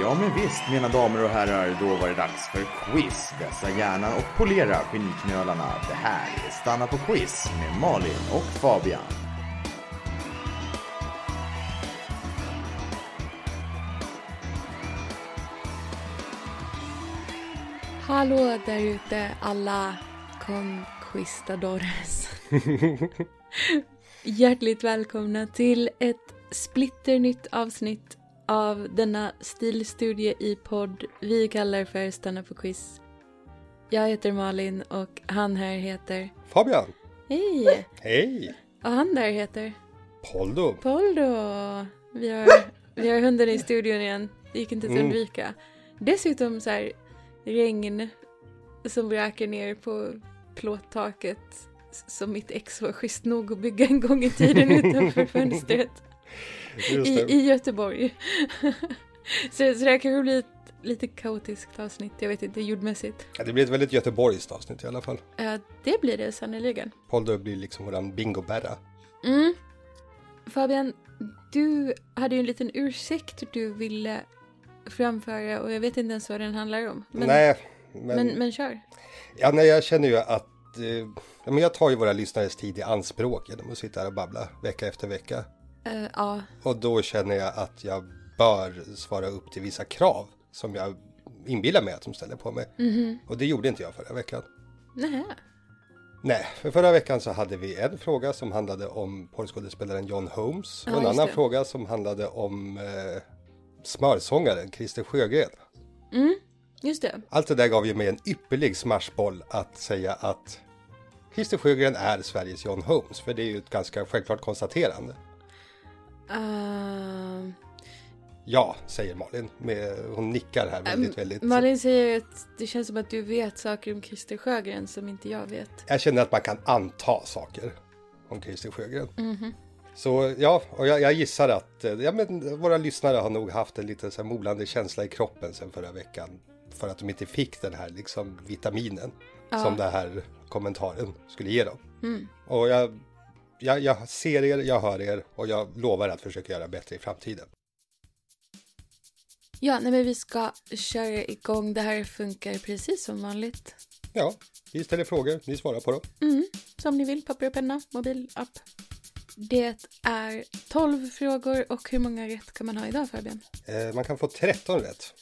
Ja men visst mina damer och herrar, då var det dags för quiz. Vässa hjärnan och polera geniknölarna. Det här är Stanna på quiz med Malin och Fabian. Hallå där ute alla conquistadores. Hjärtligt välkomna till ett splitternytt avsnitt av denna stilstudie i podd vi kallar för Stanna på quiz. Jag heter Malin och han här heter... Fabian! Hej! Hej! Och han där heter... Poldo! Poldo! Vi har, vi har hunden i studion igen. Det gick Mm. inte att undvika. Dessutom så här regn som vräker ner på plåttaket s- som mitt ex var schysst nog att bygga en gång i tiden utanför fönstret Just i, det. i Göteborg. så, så det här kanske blir ett lite kaotiskt avsnitt, jag vet inte, jordmässigt. Ja, det blir ett väldigt göteborgskt avsnitt i alla fall. Eh, det blir det sannerligen. Poldo blir liksom våran bingoberra. Mm. Fabian, du hade ju en liten ursäkt du ville framföra och jag vet inte ens vad den handlar om. Men, nej, men, men, men kör. Ja, nej, jag känner ju att eh, ja, men jag tar ju våra lyssnares tid i anspråk genom att sitta här och babbla vecka efter vecka. Eh, ja, Och då känner jag att jag bör svara upp till vissa krav som jag inbillar mig att de ställer på mig. Mhm. Och det gjorde inte jag förra veckan. nähä. Nej, för förra veckan så hade vi en fråga som handlade om porrskådespelaren John Holmes och Ja, en just annan det. fråga som handlade om eh, smörsångaren Christer Sjögren. Just det. Allt det där gav ju mig en ypperlig smashboll att säga att Christer Sjögren är Sveriges John Holmes, för det är ju ett ganska självklart konstaterande. Ehm, Ja, säger Malin. Med, hon nickar här väldigt, väldigt. Äh, Eh, Malin säger att det känns som att du vet saker om Christer Sjögren som inte jag vet. Jag känner att man kan anta saker om Christer Sjögren. Så ja, och jag, jag gissar att eh, ja, men, våra lyssnare har nog haft en lite så här, molande känsla i kroppen sen förra veckan. För att de inte fick den här liksom, vitaminen som den här kommentaren skulle ge dem. Och jag, jag, jag ser er, jag hör er och jag lovar att försöka göra bättre i framtiden. Ja, nej men vi ska köra igång. Det här funkar precis som vanligt. Ja, vi ställer frågor, ni svarar på dem. Som ni vill, papper och penna, mobilapp. Det är 12 frågor och hur många rätt kan man ha idag Fabian? Eh, man kan få 13 rätt.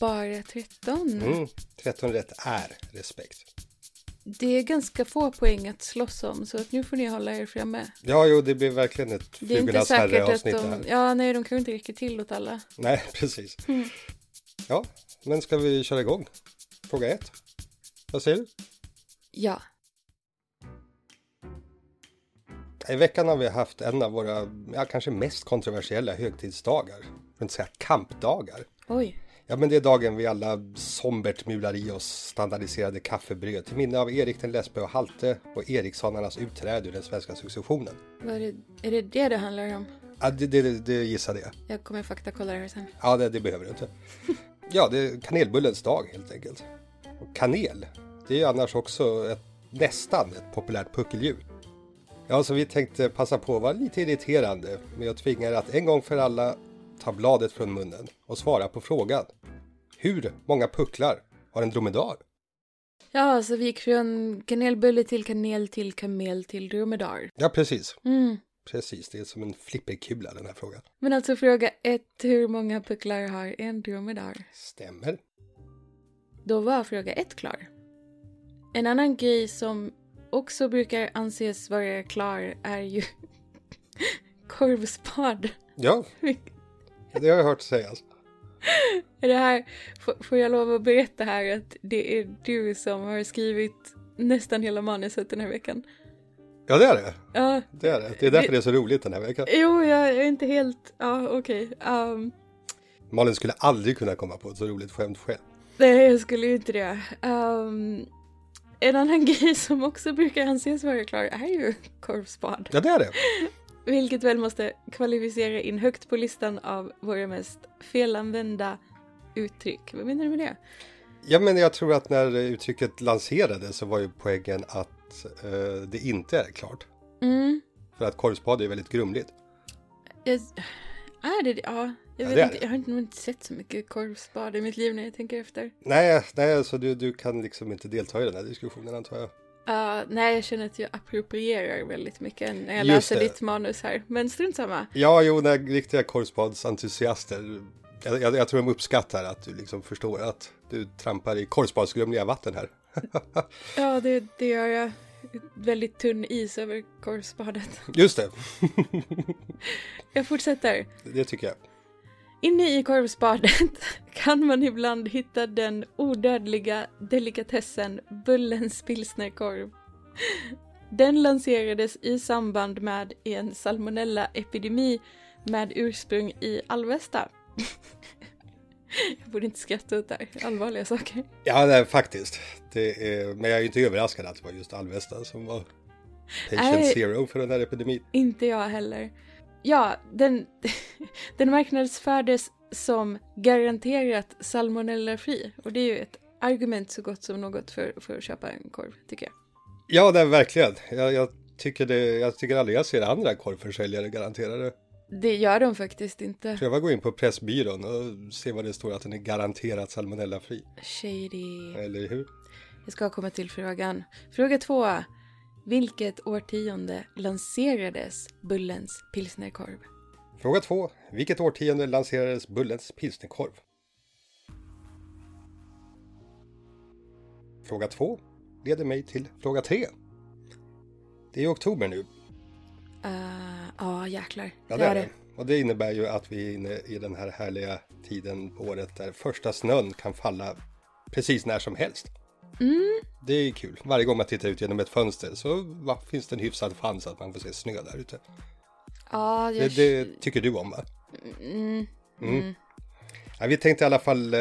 Bara 13. Mm. 13 rätt är respekt. Det är ganska få poäng att slåss om så att nu får ni hålla er framme. Ja, jo, det blir verkligen ett Det är inte flugornas säkert att herre-avsnitt det de... här. Ja, nej, de kanske inte räcker till åt alla. Nej, precis. Mm. Ja, men ska vi köra igång? Fråga ett. Vad säger du? Ja. I veckan har vi haft en av våra, ja, kanske mest kontroversiella högtidsdagar. För att inte säga kampdagar. Oj. Ja, men det är dagen vi alla sombert mular i oss standardiserade kaffebröd till minne av Erik den lesbe och Halte och Erikssonarnas utträde ur den svenska successionen. Vad är, det, är det det det handlar om? Ja, det, det, det gissade jag. Jag kommer faktakolla det här sen. Ja, det, det behöver du inte. Ja, det är kanelbullens dag helt enkelt. Och kanel, det är ju annars också ett, nästan ett populärt puckeldjur. Ja, så vi tänkte passa på att vara lite irriterande med att tvinga er att en gång för alla ta bladet från munnen och svara på frågan. Hur många pucklar har en dromedar? Ja, så vi gick från kanelbulle till kanel till kamel till dromedar. Ja, precis. Mm. Precis, det är som en flipperkula den här frågan. Men alltså fråga ett, hur många pucklar har en dromedar? Stämmer. Då var fråga ett klar. En annan grej som också brukar anses vara klar är ju korvspad. Ja, det har jag hört sägas. Det här, f- får jag lov att berätta här att det är du som har skrivit nästan hela manuset den här veckan. Ja, det är det. Ja, Det är det. Det är därför det är så roligt den här veckan. jo, jag är inte helt... Ja, okej. Ehm, Malin skulle aldrig kunna komma på ett så roligt skämt själv. Nej, jag skulle ju inte det. Ehm, en annan grej som också brukar anses vara klar är ju korvspad. Ja, det är det. Vilket väl måste kvalificera in högt på listan av våra mest felanvända uttryck. Vad menar du med det? Ja, men jag tror att när uttrycket lanserades så var ju poängen att eh, det inte är klart. Mm. För att korvspad är väldigt grumligt. Jag... Är det det? Ja, Jag, det är vet det. inte, jag har nog inte sett så mycket korvspad i mitt liv när jag tänker efter. Nej, nej alltså du, du kan liksom inte delta i den här diskussionen antar jag. Ja, nej, jag känner att jag approprierar väldigt mycket när jag Just läser det. ditt manus här. Men strunt samma. Ja, jo, när riktiga korvspadsentusiaster, jag, jag, jag tror de uppskattar att du liksom förstår att du trampar i korvspadsgrumliga vatten här. Ja, det, det gör jag. Väldigt tunn is över korvspadet. Just det, Jag fortsätter. det tycker jag. Inne i korvspadet kan man ibland hitta den odödliga delikatessen Bullens pilsnerkorv. Den lanserades i samband med en salmonella-epidemi med ursprung i Alvesta. Jag borde inte skratta åt det här, allvarliga saker. Ja, nej, faktiskt. Det är, men jag är ju inte överraskad att det var just Alvesta som var patient Nej. zero för den här epidemin. Inte jag heller. Ja, den, den marknadsfördes som garanterat salmonellafri. Och det är ju ett argument så gott som något för, för att köpa en korv, tycker jag. Ja, nej, verkligen. Jag, jag, tycker det, jag tycker aldrig jag ser andra korvförsäljare garanterade. Det gör de faktiskt inte. Pröva gå in på Pressbyrån och se vad det står att den är garanterat salmonellafri. Shady. Eller hur? Jag ska komma till frågan. Fråga två. Vilket årtionde lanserades Bullens pilsnerkorv? Fråga två. Vilket årtionde lanserades Bullens pilsnerkorv? Fråga två leder mig till fråga tre. Det är oktober nu. Eh, Ja, jäklar. Ja, det är det. Och det innebär ju att vi är inne i den här härliga tiden på året där första snön kan falla precis när som helst. Det är kul. Varje gång man tittar ut genom ett fönster så va, finns det en hyfsad chans att man får se snö där ute. Ja, jag... Det, det tycker du om va? Mm. Ja, vi tänkte i alla fall eh,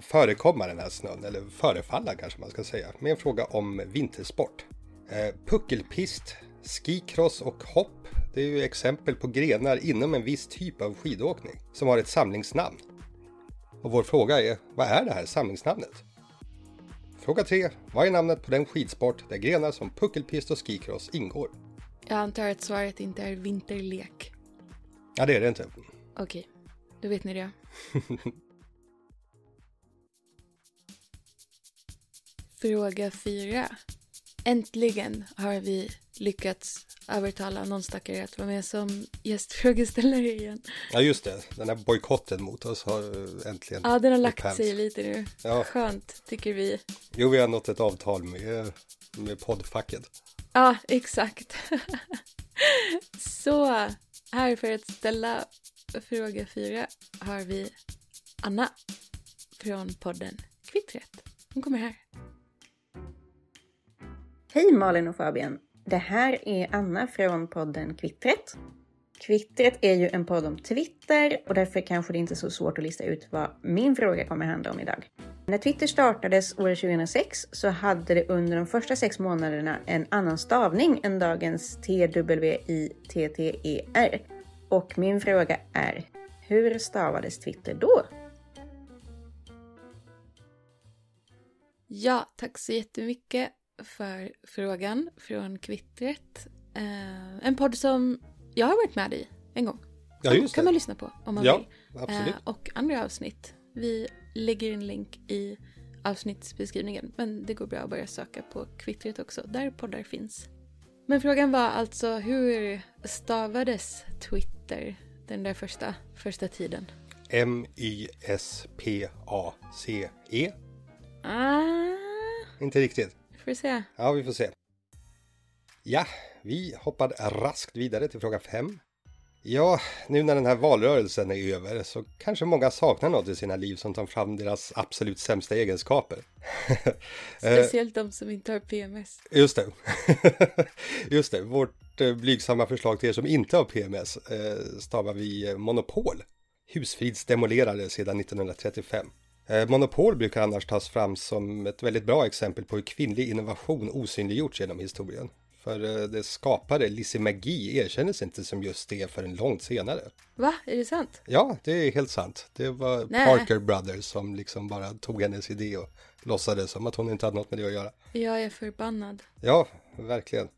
förekomma den här snön, eller förefalla kanske man ska säga, med en fråga om vintersport. Eh, puckelpist, skikross och hopp, det är ju exempel på grenar inom en viss typ av skidåkning som har ett samlingsnamn. Och vår fråga är, vad är det här samlingsnamnet? Fråga 3. Vad är namnet på den skidsport där grenar som puckelpist och skikross ingår? jag antar att svaret inte är vinterlek. Ja, det är det inte. Okej, då vet ni det. Fråga fyra. Äntligen har vi lyckats övertala någon stackare att vara med som gästfrågeställare igen. Ja, just det. Den här bojkotten mot oss har eh, äntligen Ja, den har lagt upphävts. sig lite nu. Ja. Skönt, tycker vi. Jo, vi har nått ett avtal med, med poddfacket. Ja, exakt. Så, här för att ställa fråga fyra har vi Anna från podden Kvittret. Hon kommer här. Hej Malin och Fabian! Det här är Anna från podden Kvittret. Kvittret är ju en podd om Twitter och därför kanske det inte är så svårt att lista ut vad min fråga kommer handla om idag. När Twitter startades år 2006 så hade det under de första sex månaderna en annan stavning än dagens TWITTER. E Och min fråga är, hur stavades Twitter då? Ja, tack så jättemycket för frågan från Kvittret. Eh, en podd som jag har varit med i en gång. Ja, just kan det. man lyssna på om man Ja, vill. absolut. Eh, och andra avsnitt. Vi lägger en länk i avsnittsbeskrivningen. Men det går bra att börja söka på kvittret också, där poddar finns. Men frågan var alltså hur stavades Twitter den där första, första tiden? M-Y-S-P-A-C-E. Ah, E. Inte riktigt. får se. Ja, vi får se. Ja, vi hoppar raskt vidare till fråga fem. Ja, nu när den här valrörelsen är över så kanske många saknar något i sina liv som tar fram deras absolut sämsta egenskaper. Speciellt de som inte har PMS. Just det. Just det. Vårt eh, blygsamma förslag till er som inte har PMS eh, stavar vi eh, monopol. Husfridsdemolerare sedan 1935. Eh, Monopol brukar annars tas fram som ett väldigt bra exempel på hur kvinnlig innovation osynliggjorts genom historien. För eh, dess skapare Lizzie McGee erkändes inte som just det förrän långt senare. Va, är det sant? Ja, det är helt sant. Det var Nej. Parker Brothers som liksom bara tog hennes idé och låtsades som att hon inte hade något med det att göra. Jag är förbannad. Ja, verkligen.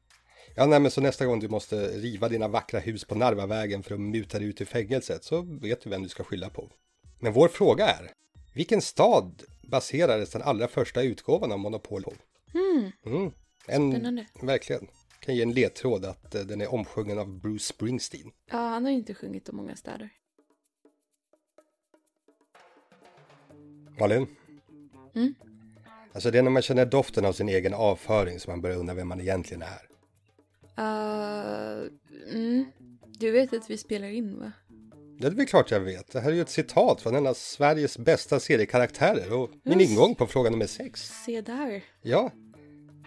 Ja, nej, men så nästa gång du måste riva dina vackra hus på Narvavägen för att muta dig ut ur fängelset så vet du vem du ska skylla på. Men vår fråga är, vilken stad baserades den allra första utgåvan av Monopol på? Mm. En, Hmm. Spännande. Verkligen. Kan ge en ledtråd att eh, den är omsjungen av Bruce Springsteen. Ja, han har ju inte sjungit om många städer. Malin? Mm. Alltså det är när man känner doften av sin egen avföring som man börjar undra vem man egentligen är. Eh, mm. Du vet att vi spelar in va? Ja, det är väl klart jag vet. Det här är ju ett citat från en av Sveriges bästa seriekaraktärer och min Yes. ingång på fråga nummer sex. Se där. Ja.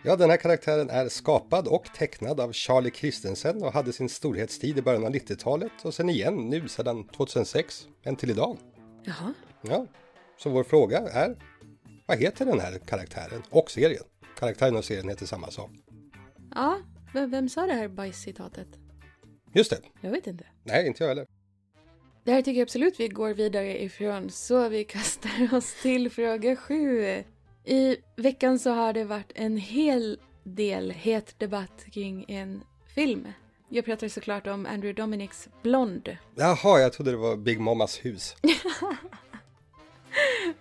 ja, den här karaktären är skapad och tecknad av Charlie Christensen och hade sin storhetstid i början av 90-talet och sen igen nu sedan 2006, än till idag. Jaha. Ja, så vår fråga är vad heter den här karaktären och serien? Karaktären och serien heter samma sak. Ja, vem, vem sa det här bajscitatet? Just det, Jag vet inte. nej inte jag heller. Det här tycker jag absolut vi går vidare ifrån, så vi kastar oss till fråga sju. I veckan så har det varit en hel del het debatt kring en film. Jag pratar såklart om Andrew Dominics Blond Jaha, jag trodde det var Big Mamas hus.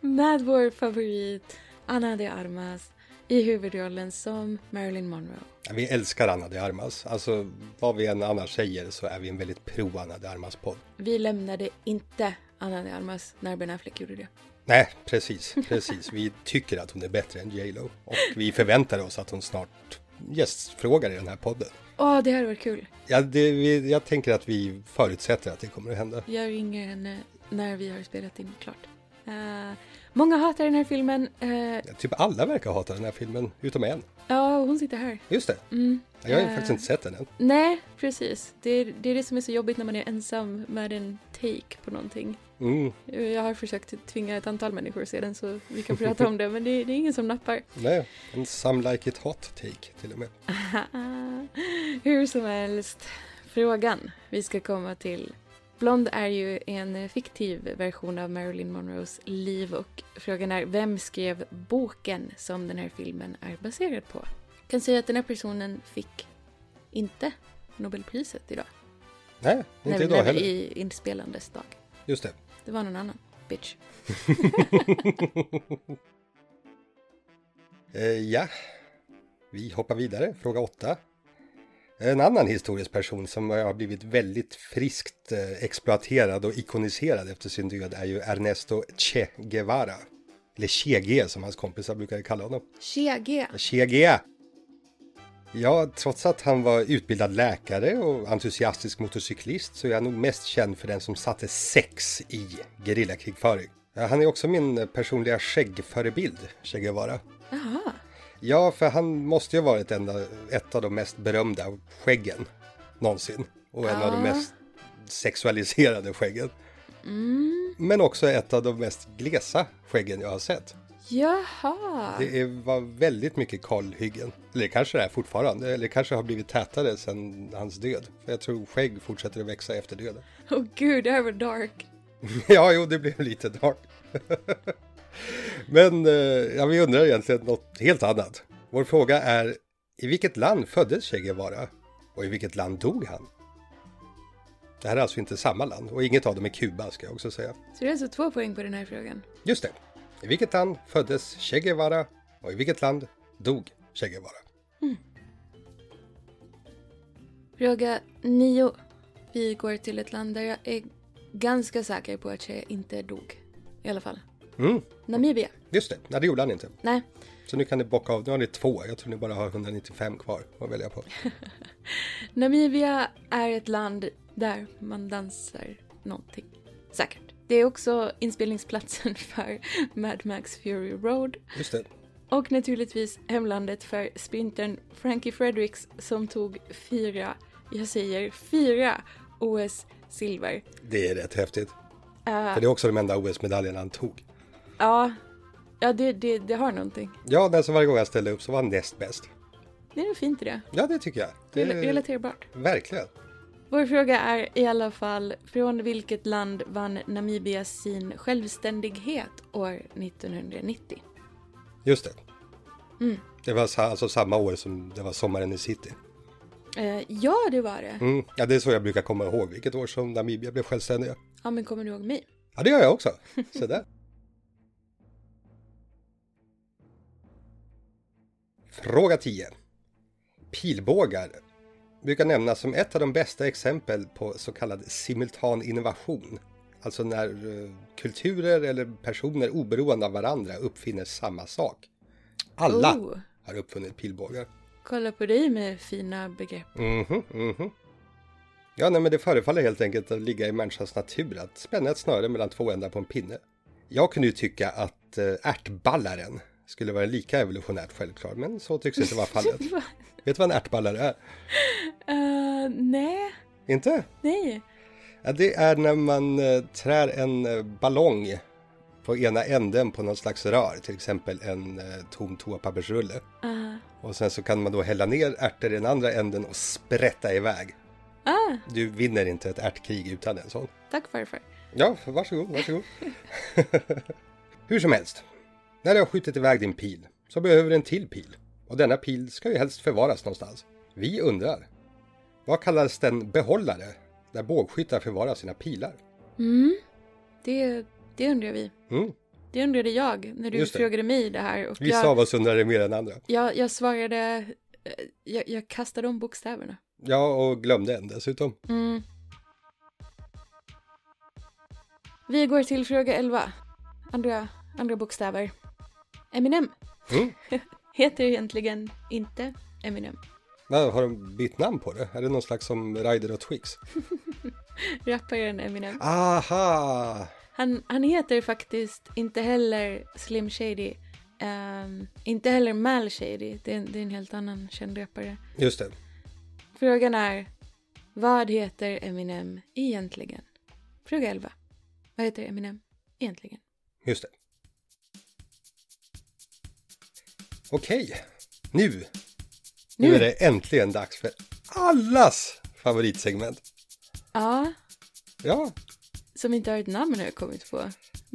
med vår favorit Anna de Armas i huvudrollen som Marilyn Monroe. Ja, Vi älskar Anna de Armas. Alltså, vad vi än annars säger så är vi en väldigt pro-Anna de Armas-podd. Vi lämnade inte Anna de Armas när Ben Affleck gjorde det. Nej, precis, precis. Vi tycker att hon är bättre än J Lo. Och vi förväntar oss att hon snart gästfrågar i den här podden. Åh, det hade varit kul. Ja, det, vi, jag tänker att vi förutsätter att det kommer att hända. Jag ringer henne eh, när vi har spelat in klart. Eh, många hatar den här filmen. Eh, Ja, typ alla verkar hata den här filmen, utom en. Ja, hon sitter här. Just det. Mm. Ja, Jag har ju Eh. faktiskt inte sett den än. Nej, precis. Det är, det är det som är så jobbigt när man är ensam med en take på någonting. Mm, Jag har försökt tvinga ett antal människor att se den så vi kan prata om det, men det, det är ingen som nappar. nej. En Some Like It Hot take till och med. Hur som helst, frågan vi ska komma till. Blond är ju en fiktiv version av Marilyn Monroes liv och frågan är vem skrev boken som den här filmen är baserad på? Jag kan säga att den här personen fick inte Nobelpriset idag. Nej, inte när, idag när, heller. I inspelandes dag. Just det. Det var någon annan. Bitch. Eh, ja, vi hoppar vidare. Fråga åtta. En annan historisk person som har blivit väldigt friskt eh, exploaterad och ikoniserad efter sin död är ju Ernesto Che Guevara. Eller Che G som hans kompisar brukar kalla honom. Tjege. Che G! Ja, trots att han var utbildad läkare och entusiastisk motorcyklist så är han nog mest känd för den som satte sex i gerillakrigföring. Ja, Han är också min personliga skäggförebild, Che Guevara. Jaha. Ja, för han måste ju ha varit en, av- ett av de mest berömda skäggen någonsin. Och en av de mest sexualiserade skäggen. Men också ett av de mest glesa skäggen jag har sett. Jaha. Det är, var väldigt mycket kalhyggen. Eller kanske det är fortfarande, eller kanske har blivit tätare sedan hans död. För jag tror skägg fortsätter att växa efter döden. Åh gud, det här var dark. Ja, jo, det blev lite dark. Men eh, ja, vi undrar egentligen något helt annat. Vår fråga är, i vilket land föddes Che Guevara? Och i vilket land dog han? Det här är alltså inte samma land, och inget av dem är Kuba ska jag också säga. Så det är alltså två poäng på den här frågan. Just det, i vilket land föddes Che Guevara? Och i vilket land dog Che Guevara? Fråga nio. Vi går till ett land där jag är ganska säker på att tjejer inte dog. I alla fall. Mm, Namibia. just det, nej det gjorde han inte. Nej. Så nu kan ni bocka av, nu har ni två, jag tror ni bara har 195 kvar att välja på. Namibia är ett land där man dansar någonting. Säkert. Det är också inspelningsplatsen för Mad Max Fury Road. Just det, Och naturligtvis hemlandet för sprintern Frankie Fredericks som tog fyra, jag säger fyra, OS-silver. det är rätt häftigt. Eh, För det är också de enda OS-medaljerna han tog. ja, ja det, det, det har någonting. Ja, den som varje gång jag ställde upp så var han näst bäst. Det är nog fint i det. Ja, det tycker jag. Det Rel- Relaterbart. Verkligen. Vår fråga är i alla fall, från vilket land vann Namibia sin självständighet år 1990? Just det. Det var sa- alltså samma år som det var sommaren i city. Eh, ja, det var det. Mm. Ja, det är så jag brukar komma ihåg vilket år som Namibia blev självständiga. Ja, men kommer du ihåg mig? Ja, det gör jag också. Så där. Fråga 10. Pilbågar brukar nämnas som ett av de bästa exempel på så kallad simultan innovation. Alltså när eh, kulturer eller personer oberoende av varandra uppfinner samma sak. Alla Oh, har uppfunnit pilbågar. kolla på dig med fina begrepp. Mhm, mhm. Ja, nej, men det förefaller helt enkelt att ligga i människans natur att spänna ett snöre mellan två ändar på en pinne. Jag kunde ju tycka att eh, ärtballaren skulle vara lika evolutionärt självklar, men så tycks inte vara fallet. Va? Vet du vad en ärtballare är? Eh, nej, Inte? nej. Ja, det är när man eh, trär en eh, ballong på ena änden på någon slags rör, till exempel en eh, tom toapappersrulle. Ah, Och sen så kan man då hälla ner ärtor i den andra änden och sprätta iväg. ah, Du vinner inte ett ärtkrig utan en sån. tack farfar. Ja, varsågod, varsågod. Hur som helst, när du har skjutit iväg din pil så behöver du en till pil. Och denna pil ska ju helst förvaras någonstans. Vi undrar, vad kallas den behållare där bågskyttar förvarar sina pilar? Mm. Det, det undrar vi. Mm. Det undrade jag när du Just det. frågade mig det här. Och Vissa jag, av oss undrar det mer än andra. jag, jag svarade, eh, jag, jag kastade om bokstäverna. Ja, och glömde en dessutom. Mm. Vi går till fråga 11. Andra, andra bokstäver. Eminem Mm. heter egentligen inte Eminem. Vad, Har de bytt namn på det? Är det någon slags som Ryder och Twix? Rapparen Eminem. Aha! Han, han heter faktiskt inte heller Slim Shady. ehm, inte heller Mal Shady. Det är, en- det är en helt annan känd rappare. Just det. Frågan är, vad heter Eminem egentligen? Fråga 11. Vad heter Eminem egentligen? Just det. Okej, nu. nu! Nu. är det äntligen dags för allas favoritsegment. Ja, Ja, som inte har ett namn har jag kommit på. Det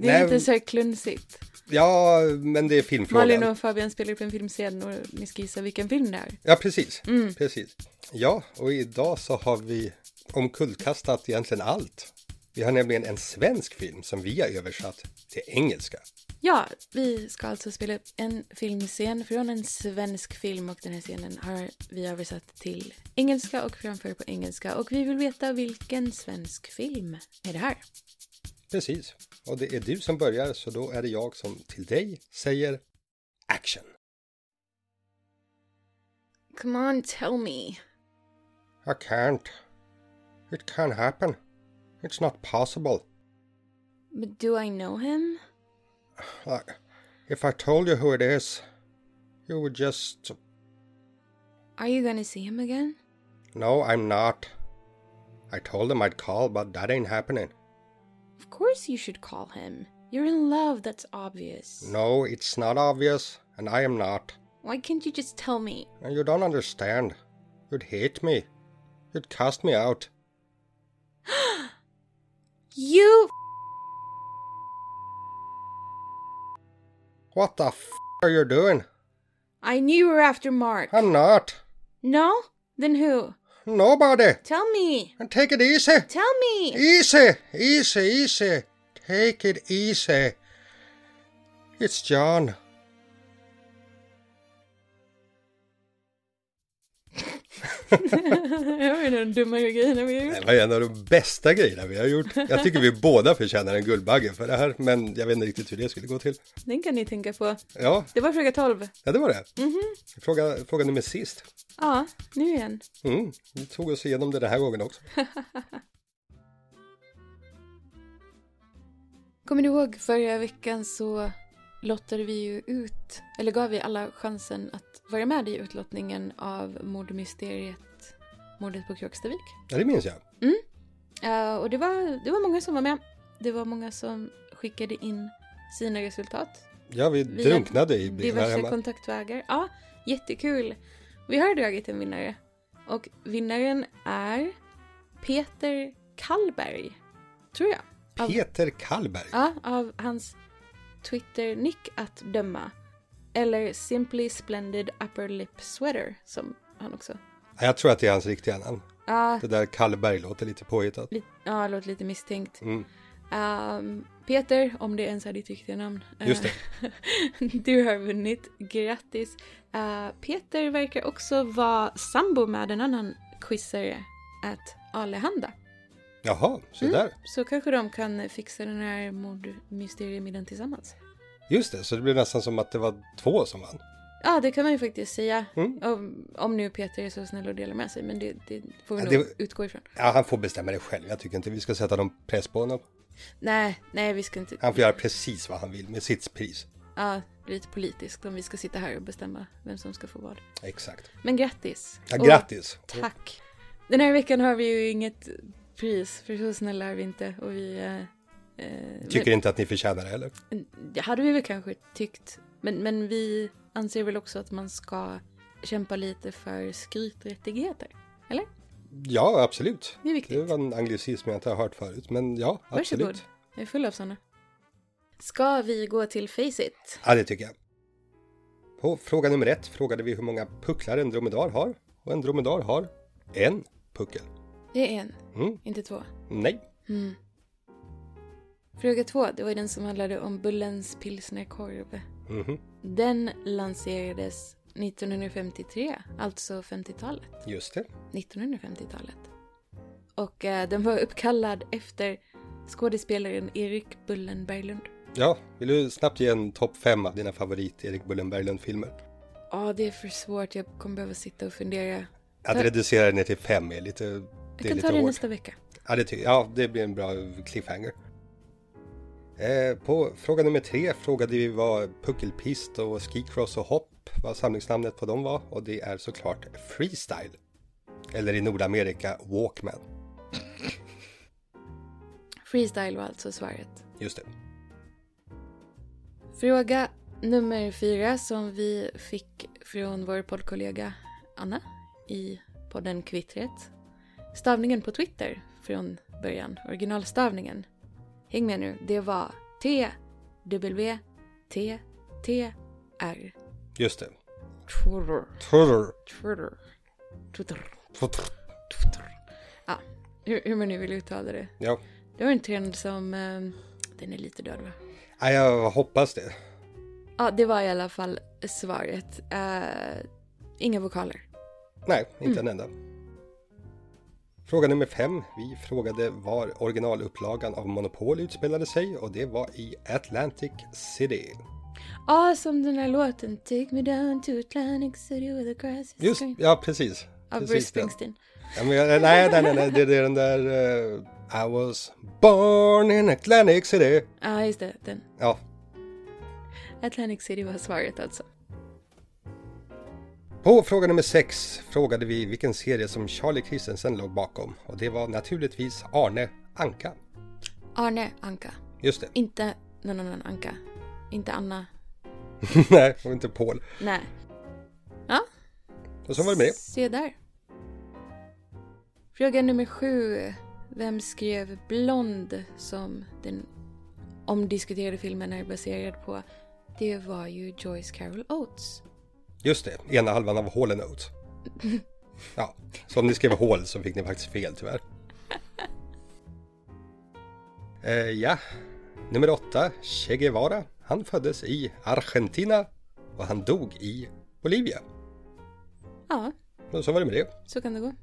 är Nej, lite men- så här klunsigt. ja, men det är filmfrågan. Malin och Fabian spelar upp en filmscen och ni ska gissa vilken film det är. Ja, precis. Mm. precis. Ja, och idag så har vi omkullkastat egentligen allt. Vi har nämligen en svensk film som vi har översatt till engelska. Ja, vi ska alltså spela upp en filmscen från en svensk film och den här scenen har vi översatt till engelska och framför på engelska och vi vill veta vilken svensk film är det här? Precis. Och det är du som börjar, så då är det jag som till dig säger action. Come on, tell me. I can't. It can't happen. It's not possible. But do I know him? I, if I told you who it is, you would just. Are you gonna see him again? No, I'm not. I told them I'd call, but that ain't happening. Of course you should call him. You're in love, that's obvious. No, it's not obvious, and I am not. Why can't you just tell me? And you don't understand. You'd hate me. You'd cast me out. You What the f are you doing? I knew you were after Mark. I'm not. No? Then who? Nobody. Tell me. And take it easy. Tell me. Easy, easy, easy. Take it easy. It's John. Jag var den dummaste grejen vi Det var en av de bästa grejerna vi har gjort. Jag tycker vi båda förtjänar en Guldbagge för det här, men jag vet inte riktigt hur det skulle gå till. Den kan ni tänka på. Ja, Det var fråga 12. ja det var det. Mhm. Fråga, fråga nummer sist. Ja, nu igen. Mm, vi tog oss igenom det den här gången också. Kommer du ihåg förra veckan så lottade vi ju ut, eller gav vi alla chansen att vara med i utlottningen av mordmysteriet Mordet på Kråkstavik. Ja, det minns jag. Eh, och det var, det var många som var med. Det var många som skickade in sina resultat. Ja, vi, Vi- drunknade i brev här Diverse hemma. kontaktvägar. Ja, jättekul. Vi har dragit en vinnare. Och vinnaren är Peter Kallberg. Tror jag. av- Peter Kallberg. Ja, av hans Twitter-nick att döma. Eller Simply Splendid Upper Lip Sweater som han också Nej, Jag tror att det är hans riktiga namn. Ja, Det där Kallberg låter lite påhittat. li- ja, låter lite misstänkt. Mm. Ehm, Peter, om det ens är ditt riktiga namn. Just det. du har vunnit. Grattis! Eh, Peter verkar också vara sambo med en annan quizare, att Alehanda. Jaha, så Mm. där. Så kanske de kan fixa den här mordmysteriemiddagen tillsammans. Just det, så det blir nästan som att det var två som vann. Ja, det kan man ju faktiskt säga. Mm. Om, om nu Peter är så snäll och delar med sig, men det, det får vi Ja, nog det- utgå ifrån. Ja, han får bestämma det själv. Jag tycker inte vi ska sätta någon press på honom. Nej, nej, vi ska inte... Han får göra precis vad han vill med sitt pris. Ja, lite politiskt om vi ska sitta här och bestämma vem som ska få vad. Exakt. Men grattis! Ja, Och grattis! Tack! Den här veckan har vi ju inget pris, för så snälla är vi inte. Och vi... eh, eh, Tycker inte att ni förtjänar det heller. men, det hade vi väl kanske tyckt. Men, men vi anser väl också att man ska kämpa lite för skryträttigheter. Eller? Ja, absolut. Det är viktigt. Det var en anglicism jag inte har hört förut, men ja, absolut. Varsågod. Jag är full av sådana. Ska vi gå till Faceit? Ja, det tycker jag. På fråga nummer ett frågade vi hur många pucklar en dromedar har. Och en dromedar har en puckel. Det är en, Mm, inte två. nej. Mm. Fråga två, det var ju den som handlade om Bullens pilsnerkorv. Mhm, Den lanserades 1953, alltså 50-talet. just det. 1950-talet. Och eh, den var uppkallad efter skådespelaren Erik Bullen Berglund. Ja, vill du snabbt ge en topp fem av dina favorit Erik Bullen Berglund-filmer? Ja, det är för svårt. Jag kommer behöva sitta och fundera. Att Ta- reducera den ner till fem är lite, Jag det är kan lite ta det hårt. nästa vecka. Ja det, ty- ja, det blir en bra cliffhanger. Eh, på fråga nummer tre frågade vi vad puckelpist och skicross och hopp, vad samlingsnamnet på dem var och det är såklart freestyle. Eller i Nordamerika walkman. Freestyle var alltså svaret. Just det. Fråga nummer fyra som vi fick från vår poddkollega Anna i podden Kvittret. Stavningen på Twitter från början, originalstavningen. Häng med nu, det var T, W, T, T, R. Just det. Twitter. Trrr. Twitter. Twitter. Trrr. Twitter. Ja, hur, hur man nu vill uttala det. Ja. Det var en trend som... Eh, den är lite död va? Nej, jag hoppas det. Ja, det var i alla fall svaret. Eh, inga vokaler. Nej, inte en enda. Fråga nummer fem. Vi frågade var originalupplagan av Monopol utspelade sig och det var i Atlantic City. Ja, som den här låten Take me down to Atlantic City where the grass is Just, green. ja precis. Av Bruce precis den. Springsteen. Ja, men jag, nej, nej, nej, nej, det det är den där eh, I was born in Atlantic City. Ja, just det. Den. Ja, Atlantic City var svaret alltså. på fråga nummer sex frågade vi vilken serie som Charlie Christensen låg bakom och det var naturligtvis Arne Anka. Arne Anka. Just det, Inte någon annan Anka. Inte Anna. nej, och inte Paul. Nej. Ja, Och så var det med det. Se där. Fråga nummer sju. Vem skrev Blond som den omdiskuterade filmen är baserad på? Det var ju Joyce Carol Oates. Just det, ena halvan av Hall Oates. Ja, så om ni skrev hål så fick ni faktiskt fel tyvärr. Eh, ja, nummer åtta, Che Guevara. Han föddes i Argentina och han dog i Bolivia. Ja, Och så var det med det, så kan det gå.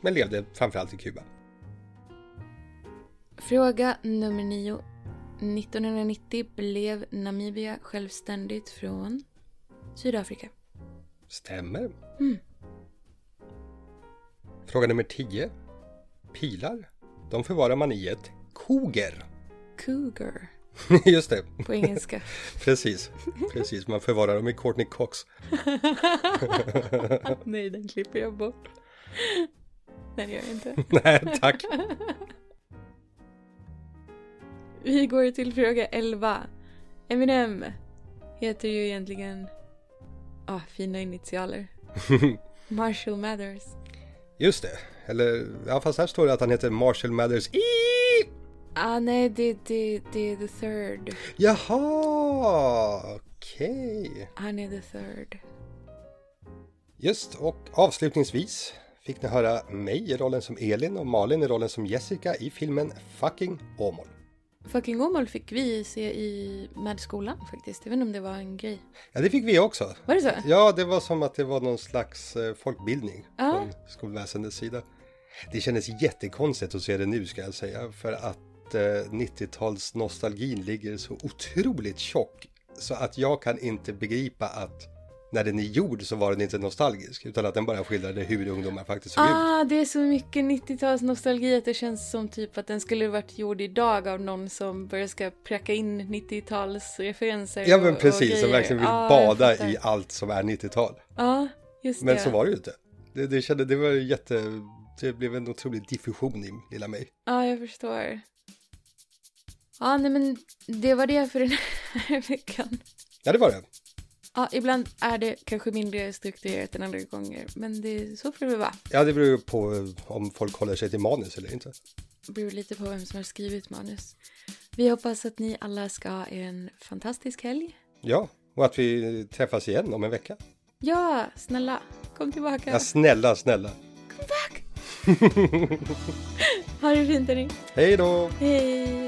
men levde framförallt i Kuba. Fråga nummer nio. 1990 blev Namibia självständigt från Sydafrika. Stämmer. Fråga nummer 10. Pilar, de förvarar man i ett koger. Cougar Just det, på engelska. precis. Precis, man förvarar dem i Courtney Cox. Nej, den klipper jag bort. Nej, det gör jag inte. Nej, tack. Vi går till fråga 11. Eminem heter ju egentligen... Ah, fina initialer. Marshall Mathers. Just det. Eller, ja fast här står det att han heter Marshall Mathers I. Ah, nej, det, det, det är the third. Jaha, okej. Han är the third. Just, och avslutningsvis fick ni höra mig i rollen som Elin och Malin i rollen som Jessica i filmen Fucking Åmål. Fucking Åmål fick vi se i med skolan faktiskt. Jag vet inte om det var en grej. Ja, det fick vi också. Var det så? Ja, det var som att det var någon slags eh, folkbildning Ja. från skolväsendets sida. Det kändes jättekonstigt att se det nu ska jag säga för att eh, 90-talsnostalgin ligger så otroligt tjock så att jag kan inte begripa att när den är gjord så var den inte nostalgisk utan att den bara skildrade hur ungdomar faktiskt såg ut. Ah, det är så mycket 90-talsnostalgi att det känns som typ att den skulle varit gjord idag av någon som börjar ska pracka in 90-talsreferenser. Ja men och- precis, och som grejer. verkligen vill Ah, jag bada fattar. i allt som är 90-tal. Ja, just Men det. så var det ju inte. Det, det kände, det var ju jätte, det blev en otrolig diffusion i lilla mig. Ja, jag förstår. Ja, nej men det var det för den här veckan. Ja det var det. Ja, ibland är det kanske mindre strukturerat än andra gånger, men det, så får det väl vara. Ja, det beror ju på eh, om folk håller sig till manus eller inte. Det beror lite på vem som har skrivit manus. Vi hoppas att ni alla ska ha en fantastisk helg. Ja, och att vi träffas igen om en vecka. Ja, snälla, kom tillbaka. Ja, snälla, snälla. Ha det fint, hörni. Hej då! Hej!